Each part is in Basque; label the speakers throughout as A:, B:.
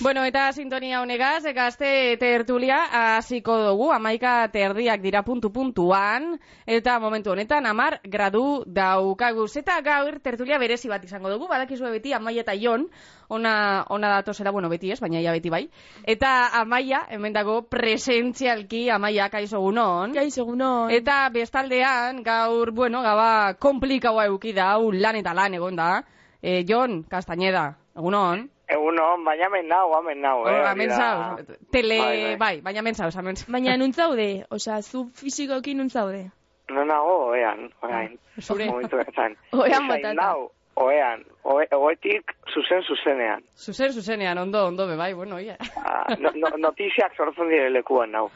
A: Bueno, eta sintonia honegaz, gazte tertulia hasiko dugu, amaika terdiak dira puntu-puntuan, eta momentu honetan amar gradu daukaguz. Eta gaur tertulia berezi bat izango dugu, badakizue beti amaia eta jon, ona, ona datozela, bueno, beti ez, baina ia beti bai. Eta amaia, hemen dago presentzialki amaia kaizo gunon.
B: Kaixo, egunon.
A: Eta bestaldean, gaur, bueno, gaba komplikaua eukida, hau lan eta lan egon da. E, Jon, Castañeda, egunon.
C: Egun hon, baina hemen nau, hemen nau,
A: Hora,
C: eh? hori
A: Oh, hemen
C: da.
A: zauz, tele,
C: Bai, bai.
A: bai, baina hemen zauz, hemen zauz.
B: Baina nun zaude? Osa, zu fisikoki nun zaude?
C: No nago, oean, oean.
A: Ah, Zure.
C: Momentu ezan.
B: Ohean
C: Ezain
B: batata.
C: Nau, oean, oe, egoetik zuzen zuzenean.
A: Zuzen, zuzenean, ondo, ondo, be, bai, bueno, ia.
C: Ah, no, no, notiziak sortzen dire lekuan nau.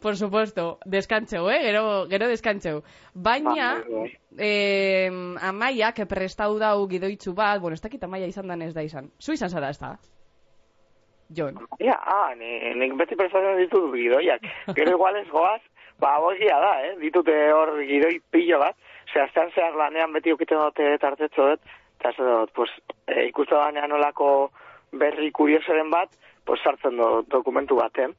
A: Por supuesto, deskantzeu, eh? Gero, gero deskantzeu. Baina,
C: Ba, bai,
A: eh, amaiak prestau dau gidoitzu bat, bueno, ez dakit amaia izan dan ez da izan. Zu izan zara ez da? Jon.
C: Ja, ah, ni, nik beti prestatzen ditut gidoiak. Gero igual ez goaz, ba, bogia da, eh? Ditute hor gidoi pilo bat. Ze, aztean zehar lanean beti ukiten dute tartetxo dut, eta ez dut, pues, e, ikusten danean olako berri kurioseren bat, pues, sartzen do, dokumentu baten.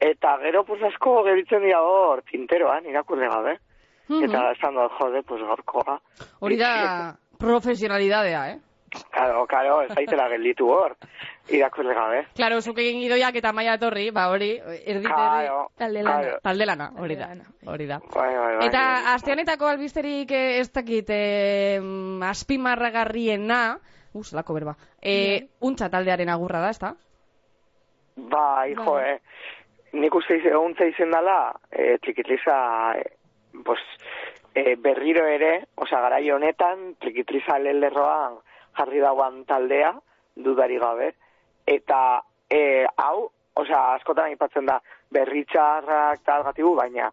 C: Eta gero, pues, asko geritzen dira hor, tinteroan, irakurri gabe. Eta esan dut, jode, pues, gorkoa.
A: Hori da profesionalidadea, eh?
C: Karo, karo, ez zaitela gelditu hor, irakurri gabe.
A: Claro, zuk egin gidoiak eta amaia etorri, ba hori, erdi erdi
C: Karo,
B: talde lana.
C: karo.
A: talde lana, hori da.
B: Talde lana.
A: Hori da.
C: Bai, bai, bai.
A: Eta aste honetako albisterik eh, ez dakit eh, mm, azpimarragarriena, us, lako berba, eh, untza taldearen agurra da, ezta?
C: Ba, hijo,
B: Bai.
C: eh. Nik uste iz- eguntza izen dela, eh, trikitliza, eh, pues, eh, berriro ere, osa, garai honetan, trikitliza lehen jarri dauan taldea, dudari gabe, eta eh, hau, osa, askotan aipatzen da, berritxarrak talgatibu, baina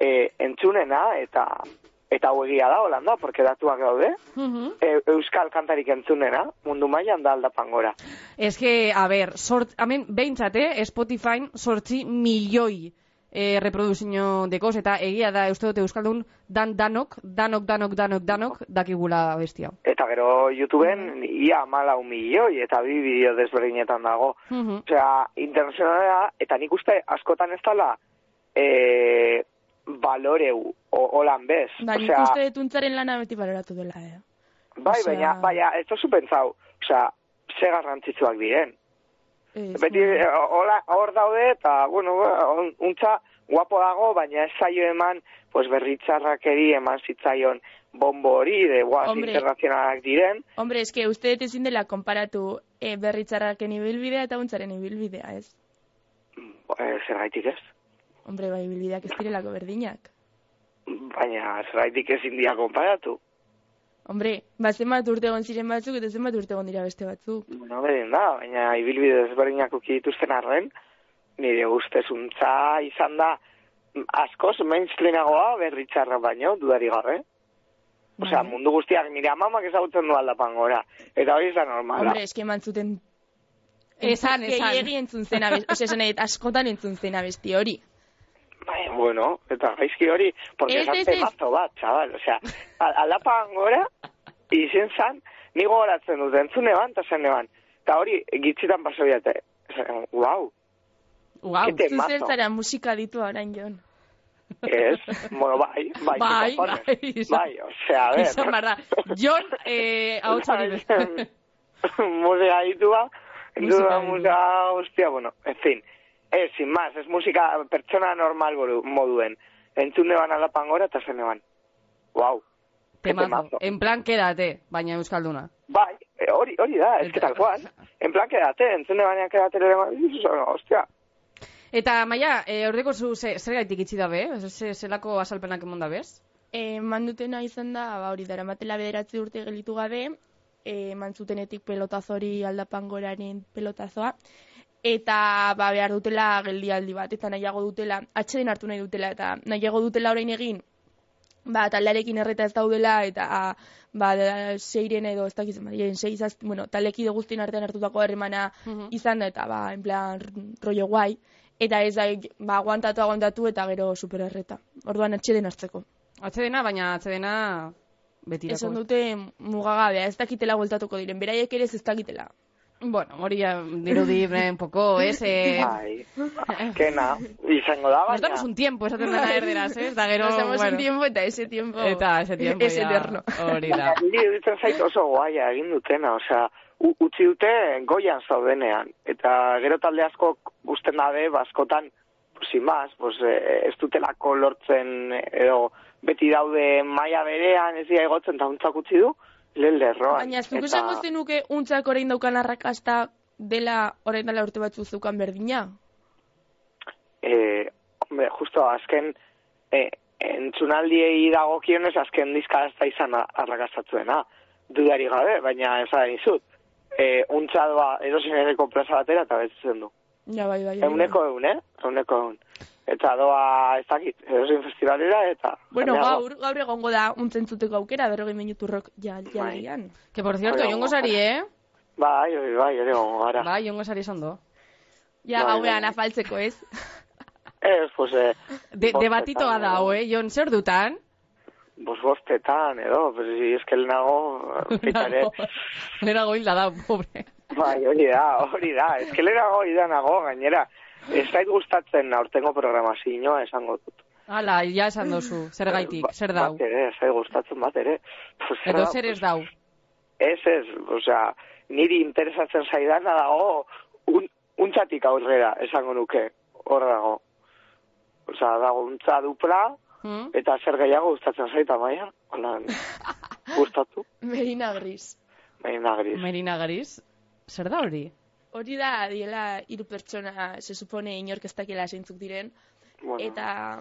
C: eh, entzunena, eta eta hau egia da, holanda, porque datuak daude, e, euskal kantarik entzunena, mundu mailan da aldapangora.
A: Ez que, a ber, sort, hemen, behintzat, eh, Spotify sortzi milioi eh, reproduzio dekoz, eta egia da, uste dute Euskaldun, dan danok, danok, danok, danok, danok, dakigula bestia.
C: Eta gero YouTubeen
B: Mm-hmm.
C: ia malau milioi eta bi bideo desberdinetan dago.
A: Mhm.
C: Osea, internazionala, eta nik uste askotan ez dala e, baloreu, o, olan bez.
B: Ba, nik
C: Osea,
B: uste tuntzaren lana beti baloratu dela, eh?
C: bai,
B: osea-
C: baina, baina, ez dozu pentsau, osea, ze garrantzitsuak diren.
B: Ez,
C: Beti
B: mm.
C: eh, hola- hor daude eta, bueno, ba, on- untza guapo dago, baina ez zaio eman, pues berritzarrakeri eman zitzaion bombo hori, de guaz
B: Hombre.
C: ba, internazionalak diren.
B: Hombre, eske uste dut ezin dela konparatu e, berritzarraken ibilbidea eta untzaren ibilbidea, ez?
C: Eh, zergaitik ez.
B: Hombre, bai, ibilbideak ez direlako berdinak.
C: Baina, zeraitik ezin dia konparatu.
B: Hombre, ba zenbat urte egon ziren batzuk eta zenbat urte egon dira beste batzuk.
C: No beren da, baina ibilbide ezberdinak uki dituzten arren, nire ustez untza izan da mm, askoz mainstreamagoa berritxarra baino, dudari gabe. Osea,
B: Bai.
C: mundu guztiak nire amamak ezagutzen du aldapan gora. Eta hori ez da normala.
B: Hombre, eske eman zuten...
A: Esan, esan.
B: Gehiegi entzun zena, bes- osea, esan nahi, askotan entzun zena besti hori.
C: Bai, bueno, eta gaizki hori, porque
B: Ez,
C: esan
B: ez, ez.
C: temazo bat, chaval, osea, al- aldapan gora, izen zan, ni gogoratzen dut, entzune ban, eta zen eban. Eta hori, gitzitan paso biate. Wow,
A: Uau.
C: Kete mazo.
B: Zuzen zara musika ditu orain, Jon.
C: Ez, bueno, bai, bai,
A: Bai,
C: cojones.
A: bai, izan-
C: bai, osea, a ver. Bai,
A: Izan behar da. Jon, eh, hau txori.
C: Musika ditua,
A: Musika
C: entzuna musika guztia, bueno, en fin. Ez, sin más, ez musika pertsona normal boru- moduen. Entzun deban alapan gora eta zen eban. Wow.
A: Temazo. En plan, quédate, baina Euskalduna.
C: Bai, eh, hori, hori da, ez que tal cual. En plan, quedate, entzun debanean quedate lehen, ostia.
A: Eta, maia, e, ordeko zu ze, zer gaitik itxi da be? Ze, zelako azalpenak emon da bez?
B: E, mandutena izan da, ba, hori dara matela bederatzi urte gelitu gabe, e, mantzutenetik pelotazori aldapangoraren pelotazoa, eta ba, behar dutela geldialdi bat, eta nahiago dutela, atxeden hartu nahi dutela, eta nahiago dutela orain egin, ba, taldearekin erreta ez daudela, eta a, ba, da- seiren edo, ez dakiz, marien, sei, zazpi, bueno, taldekide guztien artean hartutako hermana
A: Mhm.
B: izan da, eta ba, en plan, r- rollo guai, eta ez da, ba, aguantatu, aguantatu, eta gero supererreta. Orduan atxeden hartzeko.
A: Atxedena, baina atxedena betirako. eh?
B: Esan dute mugagabea, ez dakitela gueltatuko diren, beraiek ere ez dakitela.
A: Bueno, hori ja dirudi un poco, ez? Eh,
C: Bai, azkena, izango
A: nos
C: da, baina...
A: damos un tiempo esaten dena erderaz, ez? Da gero,
B: Bai. Nos damos
A: bueno.
B: un tiempo eta ese tiempo,
A: Eta ese tiempo
B: es
A: ya,
B: eterno.
A: Hori da.
C: Baina, niri iruditzen zait oso guaia egin dutena, osea, u- utzi dute goian zaudenean. Eta gero talde asko guzten dabe, baskotan, pues, sin más, pues, eh, ez dutelako lortzen, eh, edo beti daude maila berean, ez dira egotzen, eta untzak utzi du, lehen lerroan.
B: Baina, zuk
C: Eta-
B: esango zenuke untzak orain daukan arrakasta dela orain dela urte batzu zeukan berdina?
C: eh, hombre, justo azken eh, entzunaldiei dagokionez azken diska ez da izan a- arrakastatzuena, dudari gabe, baina ez da dizut. Eh, untza doa erosin ereko plaza batera eta betetzen du.
B: Ja, bai, bai. bai.
C: Euneko eun, eh? Euneko eun. Eta doa ez dakit, edozein festivalera eta...
B: Bueno,
C: baina-
B: gaur, gaur egongo da untzentzutuko aukera, berrogei minutu rock ja,
C: Bai.
B: jaldian.
A: Que por cierto,
C: Hola,
A: jongo
C: guapa.
A: sari, eh?
C: Bai, bai, bai, ere gongo gara.
A: Ba, jongo sari esan do.
B: Ja,
C: Bai, bai,
B: gauean
C: bai.
B: afaltzeko, ez?
C: Ez, pues... Eh,
A: De, eh?
C: bostetan,
A: debatitoa da,
C: edo-
A: hoe, jon zer dutan?
C: Pues bostetan, edo, pues si es que lehenago... Pitare,
A: Lehenago hilda da, pobre.
C: Bai, hori da, hori da. Eskelerago idanago, gainera. Ez zait gustatzen aurtengo programazioa esango dut.
A: Hala, ja esan dozu, zer gaitik,
C: Ba-
A: zer dau.
C: Bat ere, ez zait gustatzen bat ere. Pues,
A: Edo
C: da,
A: zer ez
C: pues,
A: dau.
C: Ez ez, osea, niri interesatzen zaidana dago un, untzatik aurrera, esango nuke, hor dago. Osea, dago untza dupla,
A: Hm?
C: eta zer gehiago gustatzen zaita, maia? Hola, gustatu,
B: Merina Gris.
C: nahi nagriz.
A: Merina Garis, zer da hori?
B: Hori da, diela, hiru pertsona, se supone, inork ez dakiela zeintzuk diren,
C: Bueno,
B: eta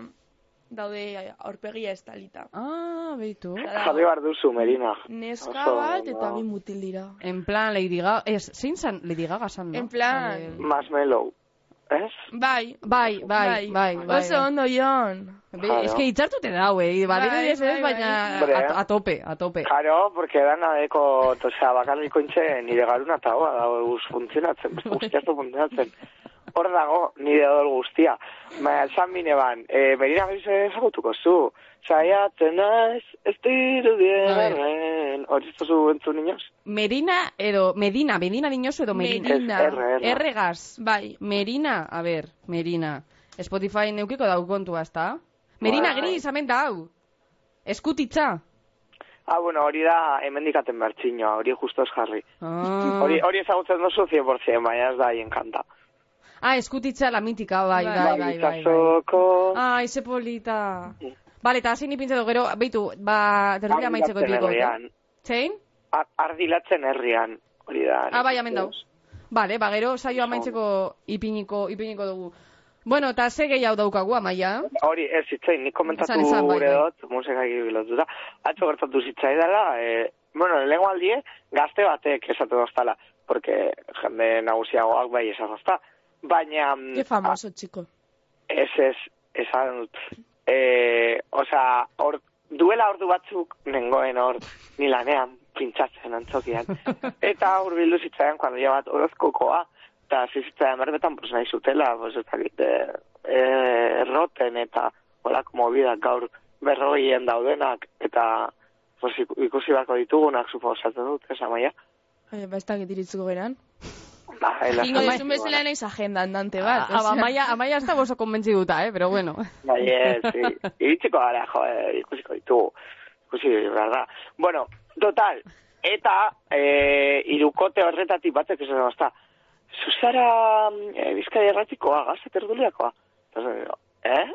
B: daude aurpegia estalita.
A: Ah, beitu.
C: Jarri behar duzu, Merina.
B: Neska
C: Oso
B: bat eta
C: ondo.
B: bi mutil dira.
A: En plan Lady Gaga, ez, zein zan Lady Gaga zan, no?
B: En plan-
A: Eh,
C: Marshmallow, ez?
B: Bai,
A: Bai, bai, bai, bai.
B: Oso ondo jon.
A: Be,
C: Claro.
A: ez que hitzartute dau, eh? Badiru
B: Bai,
A: ez ez,
B: bai,
A: baina
C: bai.
A: a, a tope, a tope.
C: Karo, porque dana deko, osea, bakarriko intxe nire garuna eta hoa, da, uz funtzionatzen, beste guztia ez du funtzionatzen. Hor dago, nire odol guztia. Baina, esan bine ban, e, berina gaizu ezagutuko zu. Zaiatzen naiz, ez
A: Bai.
C: dirudien, hori ez zu entzun inoz?
A: Merina, edo, Medina, Medina Dinoso edo Merina.
C: Ez,
B: Medina.
C: erre, erre.
A: Erregaz.
B: Bai.
A: Merina, a ber, Merina. Spotify neukiko dau kontua, ezta? Merina
C: Bai.
A: gris, hemen dau. Eskutitza.
C: Ah, bueno, hori da, emendikaten bertxinoa, hori justo ez jarri.
A: Ah,
C: Hori, hori ezagutzen duzu 100%, baina ez da hien kanta.
A: ah eskutitza la mitika, bai,
B: Bai.
A: bai, bai, bai. bai.
C: Itxasoko-
A: Ai, ze polita.
C: Sí.
A: Bale, eta zein ipintzen du gero, beitu, ba, tertulia maitzeko
C: Ardilatzen
A: ipiniko.
C: herrian.
A: Zein?
C: Ar- Ardilatzen herrian, hori da.
A: Ah, bai, hemen dau. Bale, ba, gero saio amaitzeko ipiniko, ipiniko dugu. Bueno, eta ze gehiago daukagu, amaia?
C: Hori, ez zitzain, nik komentatu
A: Esan, esan, bai,
C: gure
A: bai.
C: dut, musikak lotuta. Atzo gertatu zitzaidala, e, bueno, lehenko aldie, gazte batek esatu doztala, porque jende nagusiagoak bai esan dozta. Baina... mm,
B: Qué famoso, chico.
C: a- Ez ez, esan dut. E, osa, hor, duela ordu batzuk nengoen hor, ni lanean, pintxatzen antzokian. Eta hurbildu zitzaidan, kuando ja bat orozkokoa, eta hasi zitzaidan berbetan, pues nahi zutela, pues ez dakit, eh, eh, erroten eta olako mobidak gaur berrogeien daudenak, eta pues, iku- ikusi bako ditugunak suposatzen dut, esa maia.
B: Eh, ba, ez dakit iritzuko geran.
C: Ba, ela-
B: Ingo dizun bezala naiz agenda andante bat.
A: Ah, ba,
B: osea.
A: amaia, amaia ez da oso konbentziduta, eh, pero bueno.
C: Bai, ez, i- iritsiko gara, jo, eh, ikusiko ditugu. Ikusi, behar da. Bueno, total, eta eh, irukote horretatik batek esan basta. Zuzara eh, bizkaia erratikoa, gazte terduliakoa. Eta esan dio, eh?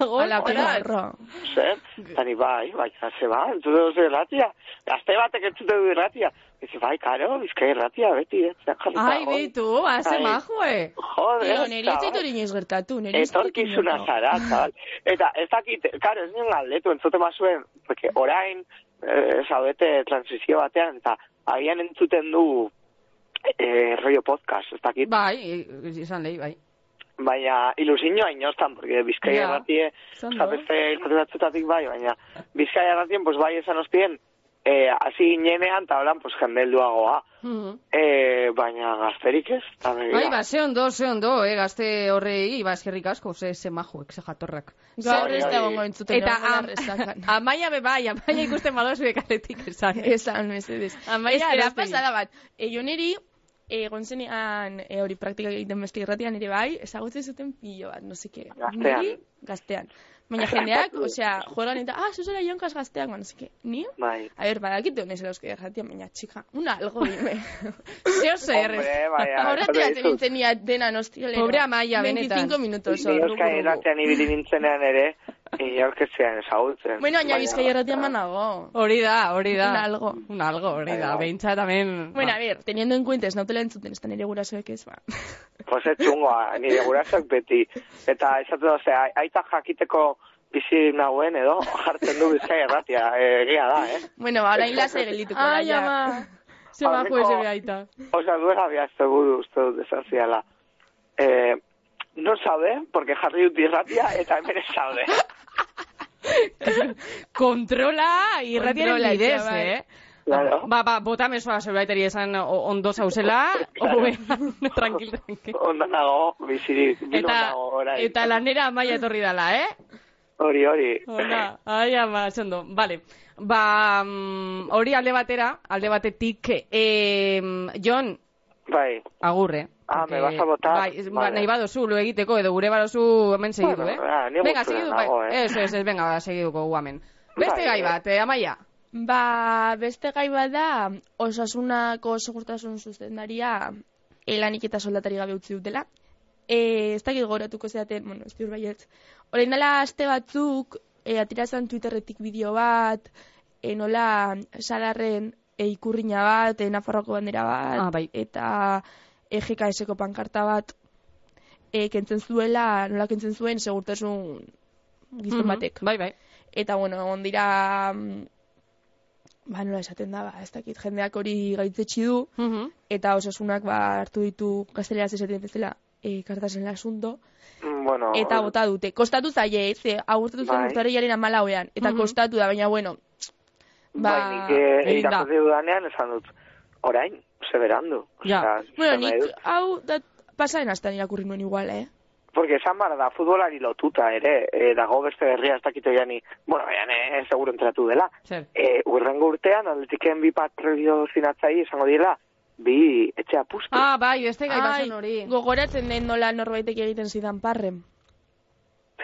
B: Ala,
A: Hola,
B: pena,
A: hola.
B: horro.
C: Zer? Eta ni bai, bai, ze ba, entzute duzu irratia. Gazte batek entzute du irratia. Dice, bai, karo, bizkaia irratia, beti, ez da jarrita.
A: Ai, beitu, ba, ze
C: Ai.
A: majue.
C: Joder,
B: Tio, niri ez
C: chaval.
B: zaitu hori inoiz gertatu. niri ez zaitu
C: Etorkizuna
B: inoiz-
C: zara, zabal. Eta ez dakit, karo, ez nien galdetu entzuten bazuen, porque orain, eh, zaudete transizio batean, eta agian entzuten du eh, rollo podcast, ez dakit.
A: Bai, i- izan lehi, bai.
C: Baina ilusioa inostan, porque Bizkaia
A: Ja.
C: erratie,
A: Zondo.
C: oza, beste irrati batzutatik bai, baina Bizkaia erratien, pues bai, esan ostien, eh, hasi ginenean, eta holan, pues jendelduagoa.
A: Mhm.
C: Eh, baina gazterik ez, eta begira.
A: Bai, ba, ze ondo, ze ondo, eh, gazte horrei, ba, eskerrik asko, ze, ze majuek, ze jatorrak.
B: Gaur
C: Hori,
B: ez
C: hori.
B: dago entzuten.
A: Eta
B: egongo da
A: am-
B: resakan.
A: amaia be bai, amaia ikusten badozu ekaletik esan.
B: Esan, mesedez.
A: Amaia,
B: Espera,
A: erostegi.
B: pasada bat. E, jo niri, egon zenean, e, hori praktika egiten beste irratian ere bai, ezagutzen zuten pilo bat, no seke.
C: Gaztean.
B: Niri, gaztean. Baina jendeak, osea, joran eta, ah, zuzera jonkaz gaztean, no seke. Ni?
C: Bai.
B: A ber, badakite honez euskal irratian, baina txika, una algo dime. Zeo zer.
C: Hombre, baina,
B: Ahora
C: esaten
B: tiratzen
C: dizut.
B: nintzen ia dena nostrilero.
A: Pobre Amaia, benetan.
B: 25 minutos. hor,
C: Ni euskal
B: dugu, dugu.
C: irratean ibili nintzenean ere, inorketzean ezagutzen.
B: Bueno, baina bizkai irratian banago.
A: Hori da, hori da.
B: Un algo.
A: Un algo, hori da. ba,
C: Bai, bai.
A: Beintza tamen...
B: Bueno, a ver, teniendo en cuenta, ez nautela entzuten, ez da nire gurasoek ez, ba.
C: Pues ez txungoa, nire gurasoak beti. Eta esatu da, ozea, aita jakiteko bizi nagoen edo jartzen du bizkai erratia, egia da, eh?
B: Bueno, ba, orain lase gelituko da,
A: Ai,
B: ja.
A: ama. Se bajo ese beaita.
C: Osa, duela bihazte buru uste dut esaziala. Eh, no sabe, porque jarri dut irratia, eta hemen ez sabe.
A: Kontrola irratiaren
B: Kontrola,
A: bidez,
B: etxea, bai.
A: eh?
C: Claro.
A: Ba, ba, bota mesoa zerbaitari esan o- ondo zauzela, hobean, tranquil, tranquil.
C: Onda nago, bizirik, bilon
A: Eta,
C: nago, orain.
A: eta lanera amaia etorri dala, eh?
C: Hori, hori.
A: Ona, ai ama, zondo, bale. Ba, mm, hori alde batera, alde batetik, eh, Jon,
C: Bai.
A: agurre.
C: Ah, me
A: Porque-
C: vas a botar.
A: Bai, ez- ba,
C: Vale.
A: nahi badozu, lo egiteko, edo gure badozu hemen segidu,
C: Bueno,
A: eh?
C: ah, ni
A: venga,
C: gustura
A: segidu,
C: nago,
A: bai.
C: eh.
A: Eso, eso, venga, ba, segiduko gu hemen.
C: Bai,
A: Beste gai
C: eh.
A: bat, eh, amaia.
B: Ba, beste gai bat da, osasunako segurtasun zuzendaria elanik eta soldatari gabe utzi dutela. E, ez dakit goratuko zeaten, bueno, ez diur baietz. Orain dela aste batzuk, e, atirazan Twitterretik bideo bat, e, nola salarren e, ikurrina bat, e, Nafarroako bandera bat,
A: Ah, bai.
B: eta E EGKS-ko pankarta bat, e, kentzen zuela, nola kentzen zuen segurtasun gizon
A: Mhm,
B: batek.
A: Bai, bai.
B: Eta, bueno, egon dira... mm, Ba, nola esaten da, ba, ez dakit jendeak hori gaitzetsi du,
A: Mhm.
B: eta osasunak ba, hartu ditu gazteleraz esaten bezala e, kartasen lasunto,
C: Mm, Bueno,
B: eta bota dute. Kostatu zaie, ez, e, agurtatu zen
C: Bai.
B: urtarriaren amala hoean, eta
A: Mhm.
B: kostatu da, baina bueno,
C: ba,
B: ba,
C: bai, nik eh,
A: egin da.
C: irakurri dudanean esan dut, orain, zeberandu.
A: Ja.
B: bueno, nik hau dat, pasaren astan irakurri nuen igual, eh?
C: Porque esan behar da, futbolari lotuta ere, eh, dago beste berria ez dakite jani, bueno, jani, eh, seguro entratu dela.
A: Zer.
C: Eh, urrengo urtean, atletiken bi patrio zinatzai izango dira, bi etxe apustu.
A: Ah, bai, beste gai bat zen hori.
B: gogoratzen den nola norbaitek egiten zidan parren.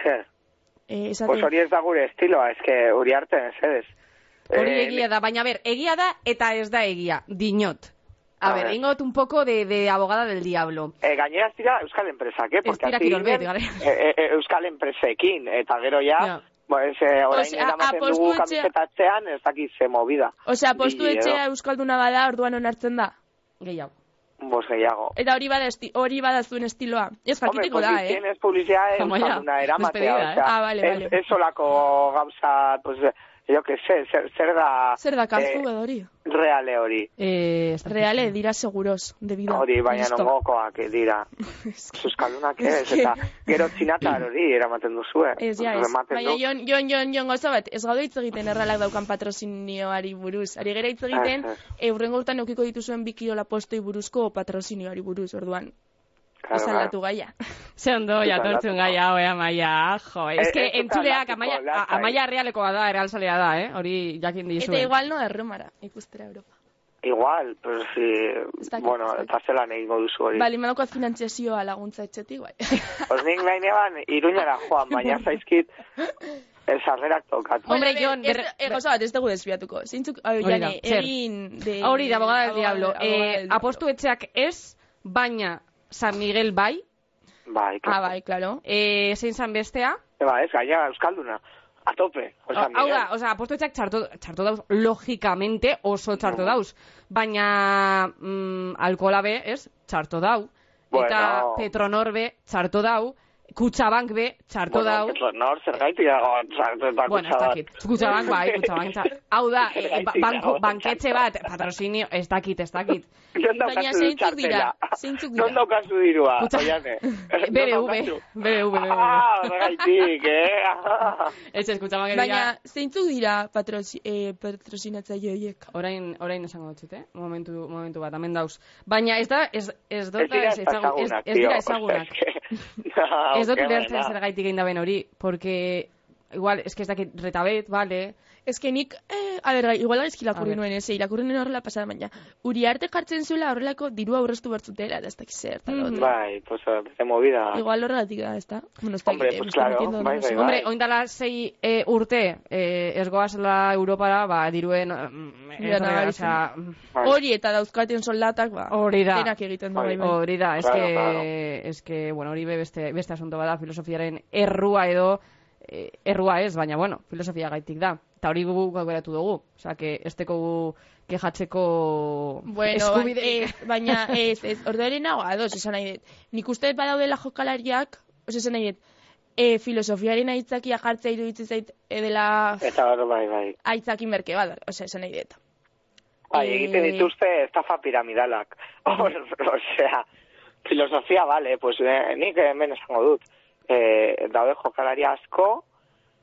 C: Zer,
B: E,
C: pues
B: esaten,
C: hori ez da gure estiloa, ez que hori arte, ez
A: Hori
C: Eh,
A: egia da, baina ber, egia da eta ez da egia, dinot. A,
C: A
A: ber,
C: ver.
A: ingo dut un poco de, de abogada del diablo.
C: E, gainera ez dira euskal enpresak, eh? Porque
A: dira
C: hasi
A: kirol
C: ginen,
A: beti, gara.
C: e, e, euskal enpresekin, eta gero ja,
A: Ja.
C: pues, eh, orain
B: Osea,
C: eramaten dugu
B: apostu etxea-
C: kamisetatzean, ez dakit ze movida.
B: Osea, postu
C: Bi eh. edo,
B: etxea Euskalduna bada, orduan onartzen da.
A: Gehiago.
C: Bost gehiago.
B: Eta hori bada esti, hori bada zuen estiloa. Ez
C: Hombre,
B: jakiteko
C: pues
B: da,
C: si
B: eh?
C: tienes publicidad es
A: Como ya,
C: una eramatea,
A: despedida,
C: o
A: eh.
C: sea,
B: Ah, vale,
C: es,
B: vale.
C: es solako gauza, pues, yo que sé, zer, zer da...
B: Zer da kazu
C: eh,
B: edo hori?
C: Reale hori.
A: Eh, ez dakit.
B: Reale dira seguros, de vida.
C: Hori, baina
B: Listo.
C: nongokoak eh, dira.
B: Ez que-
C: Euskaldunak
B: Es
C: ez,
B: que-
C: eta gero txinatar hori eramaten duzu, eh?
B: Ez, ja, ez.
C: Rematen
B: Baina
C: du.
B: jon, jon, jon, jon gauza bat, ez gaude hitz egiten erralak daukan patrozinioari buruz. Ari gara hitz egiten,
C: Ah, ah.
B: eurrengo urtan eukiko dituzuen bikiola postoi buruzko patrozinioari buruz, orduan.
C: Claro,
B: Ez
C: claro.
B: aldatu gaia.
A: Ze ondo,
C: Ez
A: ja
C: aldatu,
A: tortzun
C: no?
A: gai hau, eh, amaia, jo. Ez
C: Eh,
A: que
C: ez dut
A: entzuleak,
C: aldatuko,
A: amaia, a-
C: lasai.
A: amaia realekoa da, eralzalea da, eh? Hori jakin dizuen.
B: Eta igual no erromara, ikustera Europa.
C: Igual, pues, si,
B: Ez dakit,
C: bueno,
B: ez dakit.
C: eta zelan egingo duzu hori.
B: Bali, madaukaz finantziazioa laguntza etxetik, bai.
C: Pues nik nahi neban, iruñara joan, baina zaizkit, eh, sarrerak tokatu.
A: Hombre,
B: Bueno,
A: Jon,
B: ez-
A: berre-
B: eh, gauza bat, ez dugu desbiatuko. Zeintzuk, ah,
A: Hori da,
B: Jane,
A: zer?
B: egin... De,
A: Ah, Hori da, abogada del
B: abogada-
A: diablo.
B: abogada del
A: Eh,
B: diablo.
A: apostu etxeak ez, baina San Miguel bai,
C: Bai,
B: Ah,
C: claro.
B: bai, claro.
A: eh, zein zan bestea.
C: Ba, ez, gaina Euskalduna. A tope. Osa,
A: Ah, Hau da, oza, apostuetxak txarto, txarto dauz, logikamente oso txarto dauz. Baina mm, alkola be, ez, txarto dau. Eta
C: Bueno.
A: Petronor be, txarto dau. Kutsabank be, txarto dau.
C: Nor, zergaitik dago, zartetan
A: Bueno, ez dakit. Kutsabank bai, Kutsabank txar- Hau da, e, e, ba-
C: Zergatik
A: banko,
C: dago
A: banketxe bat,
C: txarto.
A: patrozinio, ez dakit, ez dakit.
B: Baina zeintzuk dira? Zeintzuk dira?
C: Non daukazu dirua,
A: Kutsa-
C: oiane? Non
A: BBV,
C: daukazu?
A: BBV,
C: Ah, horregaitik, eh? Ah.
A: Ez, ez, Kutsabank dira.
B: Baina, zeintzuk dira patrozi, eh, patrozinatzaile horiek?
A: Orain, orain esango dut, eh? Momentu, momentu bat, hemen dauz. Baina ez da, ez, ez dut,
C: Ez dira
A: ez, ezagun- ez,
C: ezagunak,
A: ez
C: tío.
A: dira ezagunak.
C: Osea, es que- No,
A: Ez dut
C: qué
A: ulertzen
C: buena.
A: zergaitik egin daben hori, porque igual, eske ez dakit, retabet, bale.
B: Ez que nik, eh, a ber, bai, igual gaizki
A: A
B: irakurri
A: ber.
B: nuen, ez, eh, irakurri nuen horrela pasada, baina uriarte jartzen zuela horrelako dirua aurreztu bertzutela, da ez dakiz zer, eta
A: Mm.
B: lo otro.
C: Bai, pues, eh, beste movida.
B: Igual horregatik da, ez da? Bueno, ez eh, da,
C: Hombre, pues claro, bai, bai,
A: Hombre, oindala zei e, urte e, ez goazela Europara, ba, diruen... mm, ez mm,
B: Dira
A: horrela,
B: nabaritzen.
A: osea,
C: Bai.
B: Hori eta dauzkaten soldatak, ba,
A: Hori da.
B: denak egiten du, bai,
C: Bai,
B: bai.
A: Hori da,
C: Claro,
A: eske,
C: claro.
A: eske, bueno, hori be beste, beste asunto bada, filosofiaren errua edo, eh, errua ez, baina, bueno, filosofia gaitik da. Eta hori gu gaueratu dugu, osea, que esteko gu kejatzeko
B: Bueno, ba-
A: eskubiderik.
B: ez, baina ez, ez, orduaren nago, ados, esan nahi dut. Nik uste dut badaudela jokalariak, oso esan nahi dut, e, filosofiaren aitzakia jartzea iruditzen zait, e, dela
C: Eta hor, bai, bai.
B: aitzakin berke bat, oso esan nahi dut.
C: Bai,
B: Eh,
C: egiten dituzte estafa piramidalak. Hor, osea, filosofia, bale, pues eh, nik hemen esango dut. Eh, daude jokalari asko,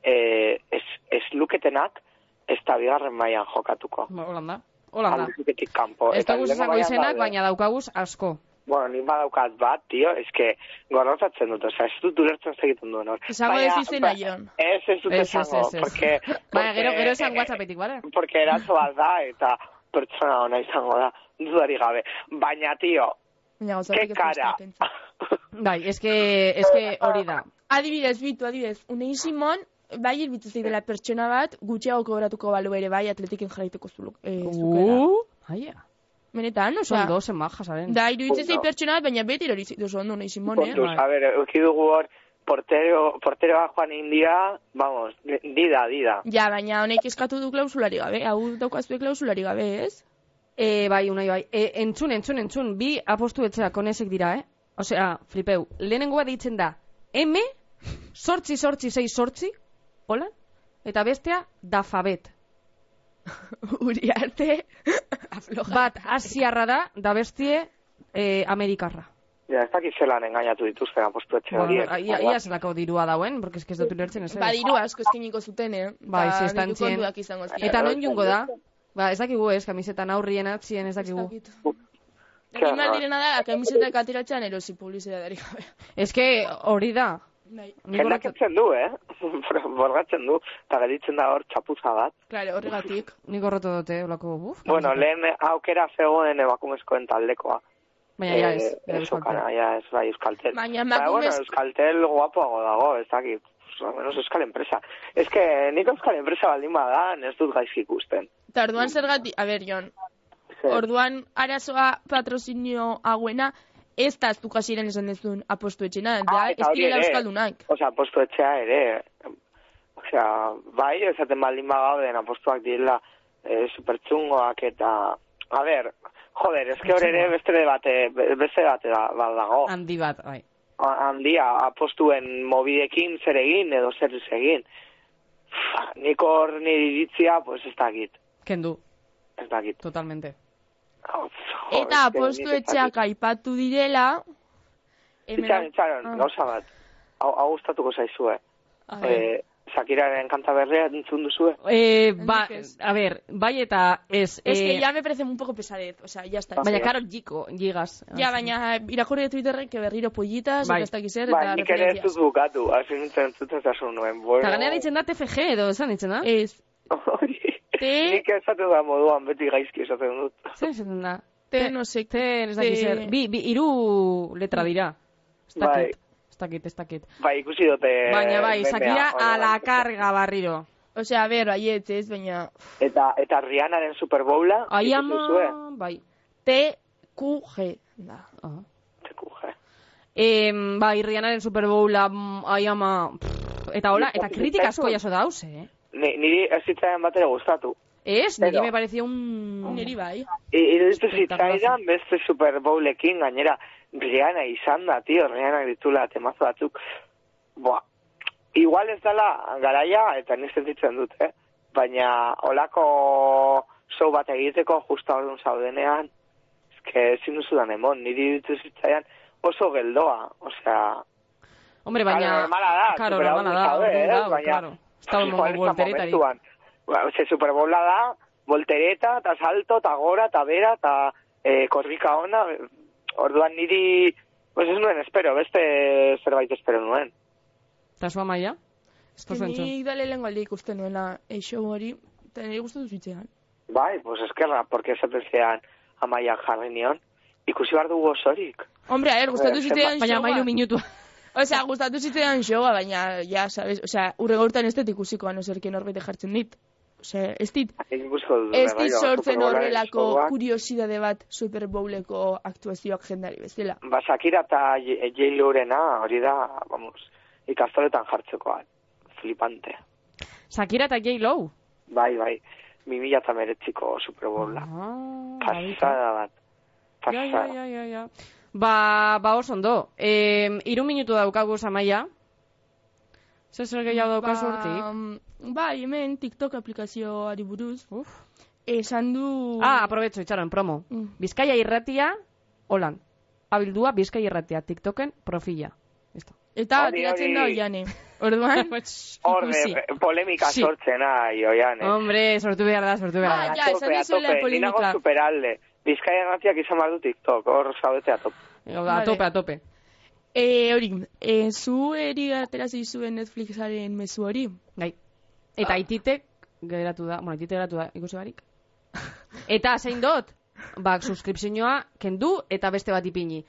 C: eh, ez, ez luketenak, ez da bigarren mailan jokatuko.
A: Ba, Holan da, holan da.
C: Albizuketik kanpo.
A: Ez
C: Eta
A: dugu
C: lehengo
A: izango
C: mailan
A: izenak,
C: daude.
A: baina daukaguz asko.
C: Bueno, nik badaukat bat, tio, eske gorrotatzen dut, osea, ez dut ulertzen segiten duen hor.
B: Esango
C: Baina- ba,
B: ez izena, Jon.
C: Ez, ez dut
A: Ez, ez,
C: esango,
A: ez, ez.
C: porque...
A: Baina, gero,
C: porque-
A: gero esan whatsappetik, bale?
C: porque eraso bat da eta pertsona ona izango da, dudari gabe. Baina, tio,
B: Baina
C: ke
B: gauzatik ez dut
C: kara.
B: pentsatzen.
A: Bai, eske, eske hori da.
B: Adibidez, bitu, adibidez, unein Simon, bai irbitu zait dela pertsona bat, gutxiago kobratuko balu ere bai atletiken jarraituko zuluk. E, zukela.
A: Uh, aia.
B: Menetan,
A: Son
B: osea,
A: dos majasaren.
B: da iruditzen zait
C: Ondo.
B: pertsona bat, baina beti hori zaitu oso ondo unein Simon, eh?
C: kontuz,
A: bai.
C: a ber, euki dugu hor, portero, porteroa joan india, vamos, dida, dida.
A: Mm.
B: Ja, baina honek eskatu du klausulari gabe, hau daukazue klausulari gabe, ez?
A: E, bai, unai, bai. E, entzun, entzun, entzun, bi apostu etxeak konesek dira, eh? Osea, flipeu, lehenengoa deitzen da, M, sortzi, sortzi, sei, sortzi, hola? Eta bestea, dafabet.
B: Uriarte, afloja.
A: Bat, asiarra da, da bestie, e, amerikarra.
C: Ja, ez dakit zelan engainatu dituzten apostuetxe
A: Bueno,
C: horiek.
A: ia, ia zelako dirua dauen, porque eske ez dut ulertzen ez.
B: Ba, diru asko eskiniko zuten, eh?
A: Bai,
B: Ba,
A: ze estan
B: diru
A: txien.
B: kontuak izango ziren.
A: Eta non jungo da? Ba, ez dakigu ez, kamisetan aurrien atzien ez dakigu.
B: Egin behar direna da, kamisetak ateratzen erosi publizitateari gabe.
A: Ez que hori da.
B: Nahi.
A: Nik
C: Jendak
A: horregatik-
C: etzen du, eh? Borgatzen du, eta gelditzen da hor txapuza bat.
B: Claro, horregatik.
A: Nik horretu dute, olako, buf.
C: Bueno, lehen aukera zegoen emakumezkoen taldekova.
A: Baina, ja ez. ja
C: Eh,
A: ez
C: eso,
A: falta.
C: kana, ja, ez, bai, Euskaltel.
B: Baina
C: Ba, bueno,
B: emakumez-
C: Euskaltel guapoago dago, ez dakit. Pues, al menos Euskal Enpresa. Ez que nik Euskal Enpresa baldin badan, ez dut gaizki ikusten.
B: Eta orduan zergatik, a ber, Jon,
C: Ze,
B: orduan arazoa patrozinio hauena, ez da aztuka ziren esan dezun apostu etxena,
C: Ah,
B: da,
C: eta
B: ez
C: hori
B: direla
C: ere.
B: euskaldunak.
C: Osea, apostu etxea ere. Osea, bai, esaten baldin bagauden apostuak direla eh, supertxungoak eta... A ber, joder, ez que hor ere beste debate, be- beste debate da, bat dago.
B: Ah.
A: Handi bat, bai.
C: Ha- handia apostuen mobidekin zer egin edo zer ez egin. Fa, Nik hor nire iritzia, pues ez dakit,
A: Kendu,
C: ez dakit.
A: totalmente.
C: Jo, ez
B: Eta
C: que
B: apostu
C: nik ez
B: etxeak
C: dakit.
B: aipatu direla,
C: Itxaron, itxaron,
B: Ah.
C: gauza bat. Hau hau gustatuko zaizue.
B: A
A: Bai.
B: ber.
C: Eh, Zakiraren kanta berrea entzun duzue.
A: Eh, ba,
B: Enrique ez.
A: a ver, bai eta ez...
B: Es que
A: eh,
B: ya me parece un poco pesadez, o sea, ya está.
A: Baina, karo, jiko, jigas.
B: Ja, baina irakurri de Twitterren que berriro pollitas,
A: Ah, Bai.
B: bai. eta zer,
C: Ba,
B: eta
C: nik ere ez dut
B: referentzias.
C: bukatu, hasi nintzen entzuten zasun nuen. Bueno,
A: Eta ganea ditzen da TFG edo, esan ditzen da?
B: Ez,
C: hori.
B: Te-
C: Nik esaten da moduan beti gaizki esaten dut.
A: Zer esaten da?
B: te, no sé,
A: Te, ez dakit
B: te-
A: zer. Bi, bi, iru letra dira. Ez
C: Bai.
A: dakit, ez dakit, ez dakit.
C: Bai, ikusi dute...
A: Baina bai,
C: memea,
A: Shakira
C: hori da.
A: a la carga barriro.
B: o sea, a ver, baietz, ez, baina
C: Eta, eta Rihanaren Super Bowla,
A: Ai
C: ikusi
A: ama,
C: duzue?
A: bai.
B: TQG da.
A: Ah.
C: Tekuje.
A: Em, bai, Rihanaren Super Bowla, mm, ai ama, pff, eta hola, eta kritika asko jaso dauz, eh?
C: Ni, niri ez zitzaidan bat ere gustatu.
A: Ez, niri
C: Zero.
A: me pareció un...
B: Neri bai.
C: I- Iruditu
A: Espektakulazo.
C: zitzaidan beste Super Bowlekin gainera Rihanna izan da, tio, Rihanna ditula temazo batzuk. Boa, igual ez dela garaia, eta nik sentitzen dut, eh? Baina olako show bat egiteko justa orduan zaudenean, eske ezin duzudan emon, niri iruditu zitzaidan oso geldoa, osea,
A: Hombre,
C: Claro,
A: baina...
C: normala da,
A: Claro,
C: superau
A: normala da,
C: gabe,
A: orduan
C: eh,
A: dago,
C: baina-
A: claro. Ez dago
C: Igual
A: emango
C: ez da
A: volteretarik.
C: momentuan. Ba, Ze Super Bowla da, voltereta, eta salto, eta gora, eta bera, eta eh, korrika ona. Orduan niri, pues ez nuen espero, beste zerbait espero nuen.
A: Eta zua maia? Ez
B: Ni
A: duzu entzun.
B: da lehenengo aldia ikusten nuela eh, show hori, eta nire gustatu zitzean.
C: Bai, pues eskerra, porque esaten zean amaian jarri nion. Ikusi behar dugu osorik.
B: Hombre, a ver, gustatu
C: Eh,
B: zitzean
A: Baina
B: showa.
A: mailu minutua.
B: Osea, gustatu zitzean showa, baina, ja, sabes, osea, urrego urtean ez dut ikusiko, no zerkin norbait jartzen dit. Osea, ez dit,
C: Ikusiko dut.
B: ez
C: berriro,
B: dit sortzen
C: Superbowlaren
B: horrelako
C: showa.
B: kuriosidade bat Super Bowleko aktuazioak jendari bezala.
C: Ba, Shakira eta J- J-Lurena, hori da, vamos, ikastoletan jartzekoa. Flipante.
A: Shakira eta J. Low.
C: Bai, bai, 2000 eta meretziko Super Bowla.
A: Ah,
C: Pasada bat.
A: bai. Ja, ja,
C: Pasada.
A: ja, ja, ja. Ba, ba oso ondo. Eh, iru minutu daukagu samaia. Zer zer gehiago daukazu hortik?
B: mm, Ba, Bai, hemen TikTok aplikazioari buruz.
A: Uf.
B: Esan du...
A: Ah, aprobetxo, itxaron, promo.
B: Mm.
A: Bizkaia irratia, holan. Abildua Bizkaia irratia, TikToken profila. Listo.
B: Eta
C: Hori,
B: ateratzen da
C: hori.
B: oiane. Orduan,
A: Ikusi.
C: Orde, polemika
A: Sí.
C: sortzen, ai, oian, eh.
A: Hombre, sortu behar da, sortu behar
B: Ah,
A: da.
B: ja, esan dizuela
C: ni nago
B: polemika.
C: superalde. Bizkaia gatiak izan behar du TikTok, hor zaudete a tope.
A: Gauda, ba, A
B: Vale.
A: tope, a tope.
B: e, hori, e, zu eri aterazi zuen Netflixaren mezu hori.
A: Gai. Bai.
B: Ah.
A: Eta aititek geratu da, bueno, aititek geratu da, ikusi barik. Eta zein dot, ba, suskripzioa kendu eta beste bat ipini.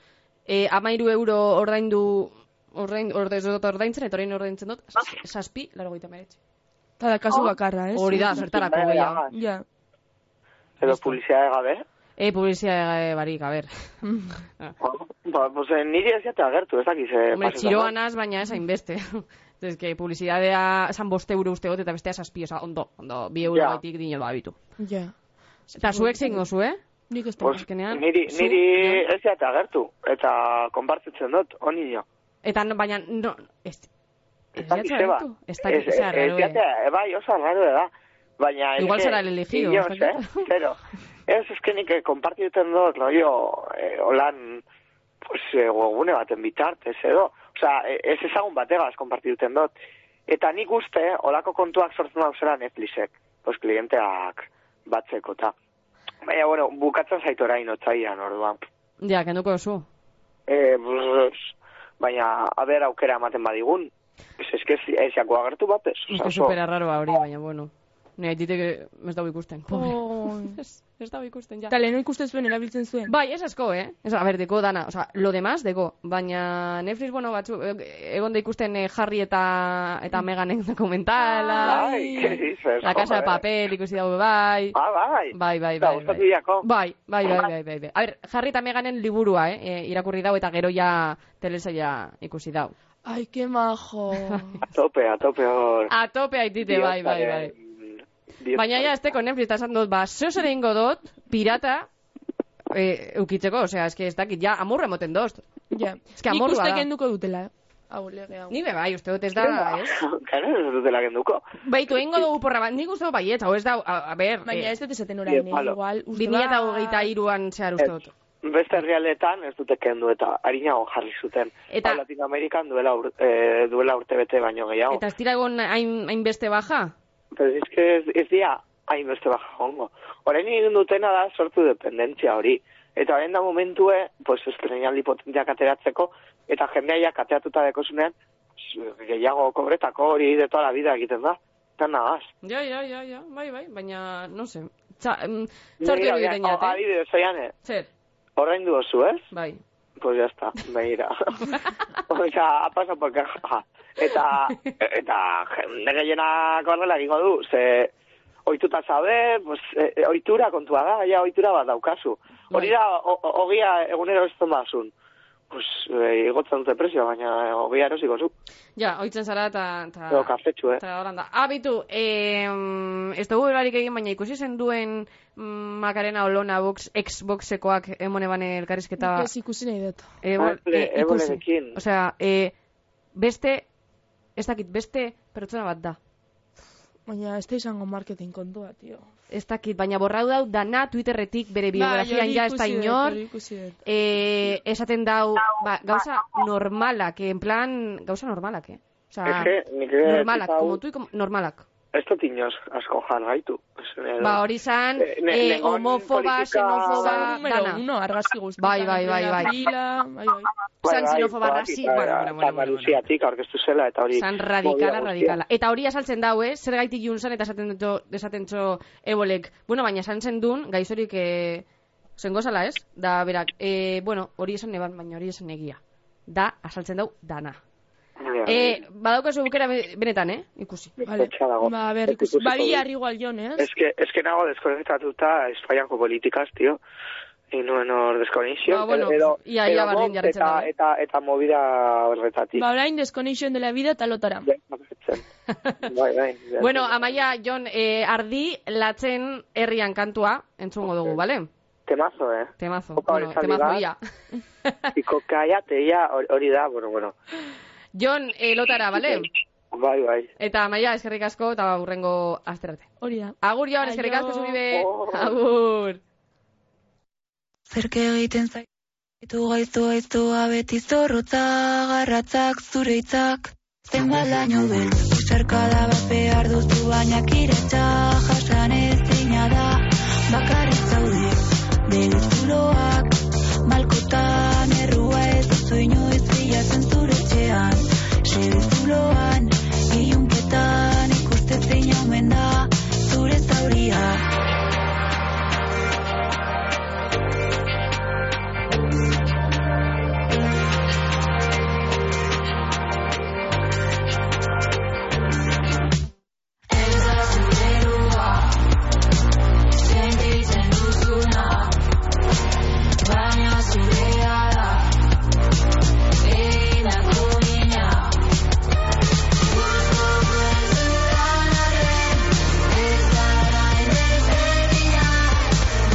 A: E, amairu euro ordaindu, ordain, ordain, dut ordaintzen, eta orain ordaintzen dut, sas- saspi, laro goita meretzi.
B: Eta da kasu bakarra, Bai. ez?
A: Oh. Hori da, zertarako gehiago.
B: Ja.
C: Edo publizia gabe.
A: E, publizia barik, a ber. Ah.
C: Ba, pues, eh, niri ez jate agertu, ez dakiz. eh,
A: Hombre,
C: pasetan.
A: txiroan az, baina ez hainbeste. Entonces, que publizidadea zan boste euro uste dut, eta bestea saspi, oza, ondo, ondo, bi euro
C: Ja.
A: baitik dino da bitu.
B: Ja.
A: Eta zuek zein gozu, eh?
B: Nik ez
C: Pues,
A: azkenean,
C: niri,
A: zu,
C: niri
A: jan.
C: ez jate agertu, eta konpartitzen dut, honi jo.
A: Eta, no- baina, no, ez, ez
C: dakit
A: jatzea
C: ze ba.
A: gertu? Ez dakit,
C: Ez-
A: zea,
C: ez
A: raro, eh?
C: jatea, eh, bai, oso raro da. Baina...
A: Igual
C: eske,
A: será el elegido,
C: inoiz,
A: ez dakit.
C: eh, Zero. Ez eskenik eh, konpartitzen dut, loio, eh, holan, pues, eh, webgune baten bitartez, edo. Osa, ez ezagun bategaz konpartitzen dut. Eta nik uste, olako kontuak sortzen dauzela Netflixek, pues, klienteak batzeko, eta. Baina, bueno, bukatzen zaitu orain otzaian, orduan.
A: Ja, kenduko duzu.
C: E, baina, aber aukera ematen badigun. Ez eske ez jako agertu batez.
A: Ez que
C: oso-
A: supera raroa hori, baina, bueno. Nei, ditek eh, ez dago ikusten. pobre.
B: Oh.
A: Ez, ez dago ikusten, ja.
B: Eta lehenu ikusten zuen erabiltzen zuen.
A: Bai, ez asko, eh? Ez, a ber, deko dana, oza, lo demás, deko. Baina Netflix, bueno, batzu, eh, egon da ikusten eh, Harry eta, eta Meganen dokumentala.
C: Bai, que dices,
A: La casa de
C: joder.
A: papel, ikusi dago, bai.
C: Ah, bai.
A: Bai, bai,
C: Eta
A: bai.
C: gustatu
A: Bai,
C: jako.
A: bai, bai, bai, bai, bai, bai. A ber, Harry eta Meganen liburua, eh? eh, irakurri dau eta gero ja telesaia ikusi dau.
B: Ai, que majo.
C: A tope, a tope hor. eh,
A: A tope aitite, Ah, bai, bai, bai.
C: Dios,
A: Baina ja, esteko Netflix esan dut, ba, zeus ere ingo dut, pirata, eh, eukitzeko, osea, eske ez dakit, ja, amurra moten dozt.
B: ja.
A: Ez que
B: Nik
A: amorrua
B: uste
A: da.
B: kenduko dutela. eh. Hau, lege hau.
A: Ni be bai, uste dut ez da,
C: Claro,
A: ez?
C: ez dutela genduko.
A: Baitu, egingo dugu porra bat, nik uste dut baietz, hau ez da, a, a ber,
B: Baina ez
A: eh,
B: dut esaten orain,
C: Bi
B: eh?
C: palo.
B: igual. uste
A: 2023an zehar uste dut.
C: Beste herrialetan ez dute kendu eta harinago jarri zuten.
A: Eta-
C: Hau, Latinoamerikan duela, ur, eh, duela urte bete baino gehiago.
A: Eta ez dira egon hain, hainbeste baja?
C: Pero es que ez, ez dia hainbeste baja jongo. Orain egin dutena da sortu dependentzia hori. Eta orain da momentue, pues, estrenaldi potenteak ateratzeko, eta jendea ja kateatuta dekosunean, gehiago kobretako hori de toda la vida egiten da. Eta nagaz.
A: Ja, ja, ja, ja, bai, bai, baina, no se, txa, mm, txartu egiten jate.
C: Adibidez, oian, eh,
A: Zer,
C: orain duozu, ez?
A: bai.
C: Pues ya está, begira. Osea, ha pasado por caja. Eta, eta jende gehienak horrela egingo du, ze oituta zabe, pues, e, oitura kontua da, ja oitura bat daukazu. Hori da, o- o- ogia egunero ez bazun. Pues, e, igotzen dute presio, baina eh, ogia erosiko zu.
A: Ja, oitzen zara eta... eta-
C: Edo kafetxu, eh?
A: Eta horanda. Ah, bitu, em, ez dugu berarik egin, baina ikusi zen duen mm, Macarena Olona box, Xboxekoak emone bane elkarrizketa...
B: Ez ikusi nahi dut.
A: Eh, bueno,
C: Apple,
A: eh, ikusi.
C: Applerekin.
A: Osea, eh, beste, ez dakit, beste pertsona bat da.
B: Baina ez da izango marketing kontua, tio.
A: Ez dakit, baina borrau dau dana Twitterretik
B: Ba,
A: bere
B: Bai,
A: biografian ja ez da inor. Eh, esaten dau, ba, gauza normalak, en plan, gauza normalak, eh? Osea,
C: Es que, nik ere
A: normalak,
C: tipa hau-
A: como tú y como, normalak.
C: ez dut inoz asko jar gaitu. Ez, edo-
A: Ba, hori zan,
C: Eh, ne-
A: eh,
C: nengon
A: homofoba,
C: politika-
A: xenofoba,
B: Zan número
A: Ba, dana.
B: uno, argazki guztietan.
A: Bai, bai, bai, bai.
B: Pila, bai, bai.
C: Bai,
A: San
C: bai,
A: xenofoba,
C: badakit,
A: rasi-
C: bai,
A: bueno, bueno, bueno, bueno,
C: Andaluziatik aurkeztu zela, eta hori...
A: San
C: movida
A: radikala,
C: guztia.
A: radikala. Eta hori asaltzen dau, eh? Zer gaitik jun zan eta esaten dut, esaten txo ebolek. Bueno, baina esan zen dun, gaizorik, eh, zengo zala, ez? Da, berak, eh, bueno, hori esan neban, baina hori esan egia. Da, asaltzen dau, dana.
C: Ja,
A: Eh, badaukazu bukera be- benetan, eh? Ikusi.
B: Vale.
C: Pentsa dago.
B: Ba, a ver,
C: Ez
B: ikusi.
C: ikusiko
B: Ba,
C: dut.
B: bihar igual jon, ez?
C: Es que, es que nago deskonektatuta Espainiako politikaz, tio. Y nuen hor deskonexio.
A: Ba, bueno, ia, ia berdin
C: mok
A: jarraitzen
C: eta,
A: dabe.
C: eta, eta movida horretatik.
B: Ba, orain desconexión de la vida eta lotara.
C: Ja, jarraitzen. bai, bai. ja.
A: Bueno, amaia, Jon, eh, ardi latzen herrian kantua entzungo dugu,
C: Ok.
A: bale?
C: Temazo, eh?
A: Temazo,
C: Opa,
A: bueno,
C: esaldi
A: temazo
C: bat.
A: ia.
C: Iko kaiate, ja, hor- hori da, bueno, bueno.
A: Jon, eh, lotara, bale?
C: Bai, bai.
A: Eta amaia, eskerrik asko eta hurrengo asterate.
B: Hori da.
A: Agur, Jon, eskerrik asko
B: Aio.
A: zuribe.
C: Oh.
A: Agur.
D: Zerke egiten zaitu gaiztu gaiztua beti zorrotza garratzak zure hitzak zenbat laino den Zerkada bat behar duzu baina kiretza jasan ezina da bakarrik zaude Begizuloak malkotan errua ez duzu inoiz bilatzen zure etxean Segizuloan ilunketan ikusten zein omen da zure zauriak Sentitzen duzuna Baina zurea da Egindako mina Gusto duzudanaren Ez gara indezberdina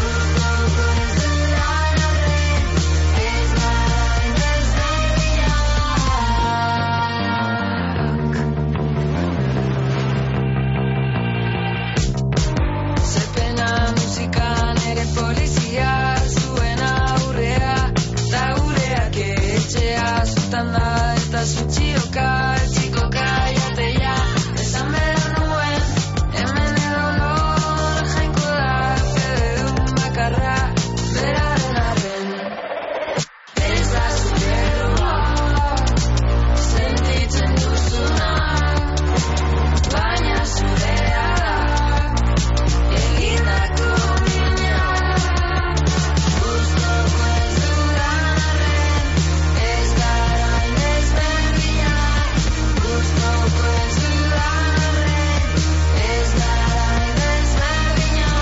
D: Gusto duzudanaren Ez gara indezberdina Zepena musikan ere polizia zuen aurrea Ta gureak etxea zutan da eta zutxioka Txikoka jateia Esan behar nuen hemen edo nor jainko da Fede dun bakarra beraren arren Ez da zure errua Sentitzen duzuna Baina zurea da Egindako mina Guztoko ez dudanaren Ez gara indezberdina Guztoko ez dudanaren Ez gara indezberdina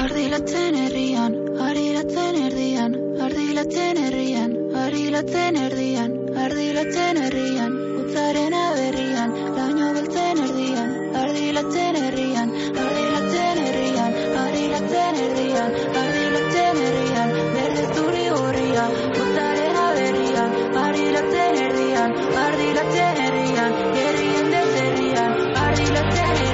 D: Ardilatzen herrian, ardilatzen erdian, ardilatzen herrian, ardilatzen erdian, ardilatzen herrian, utzaren aberrian, laino beltzen erdian, ardilatzen herrian, ardilatzen herrian, ardilatzen erdian, ardilatzen herrian, berde zuri gorria, utzaren aberrian, ardilatzen erdian, ardilatzen herrian, herrien dezerrian, ardilatzen herrian.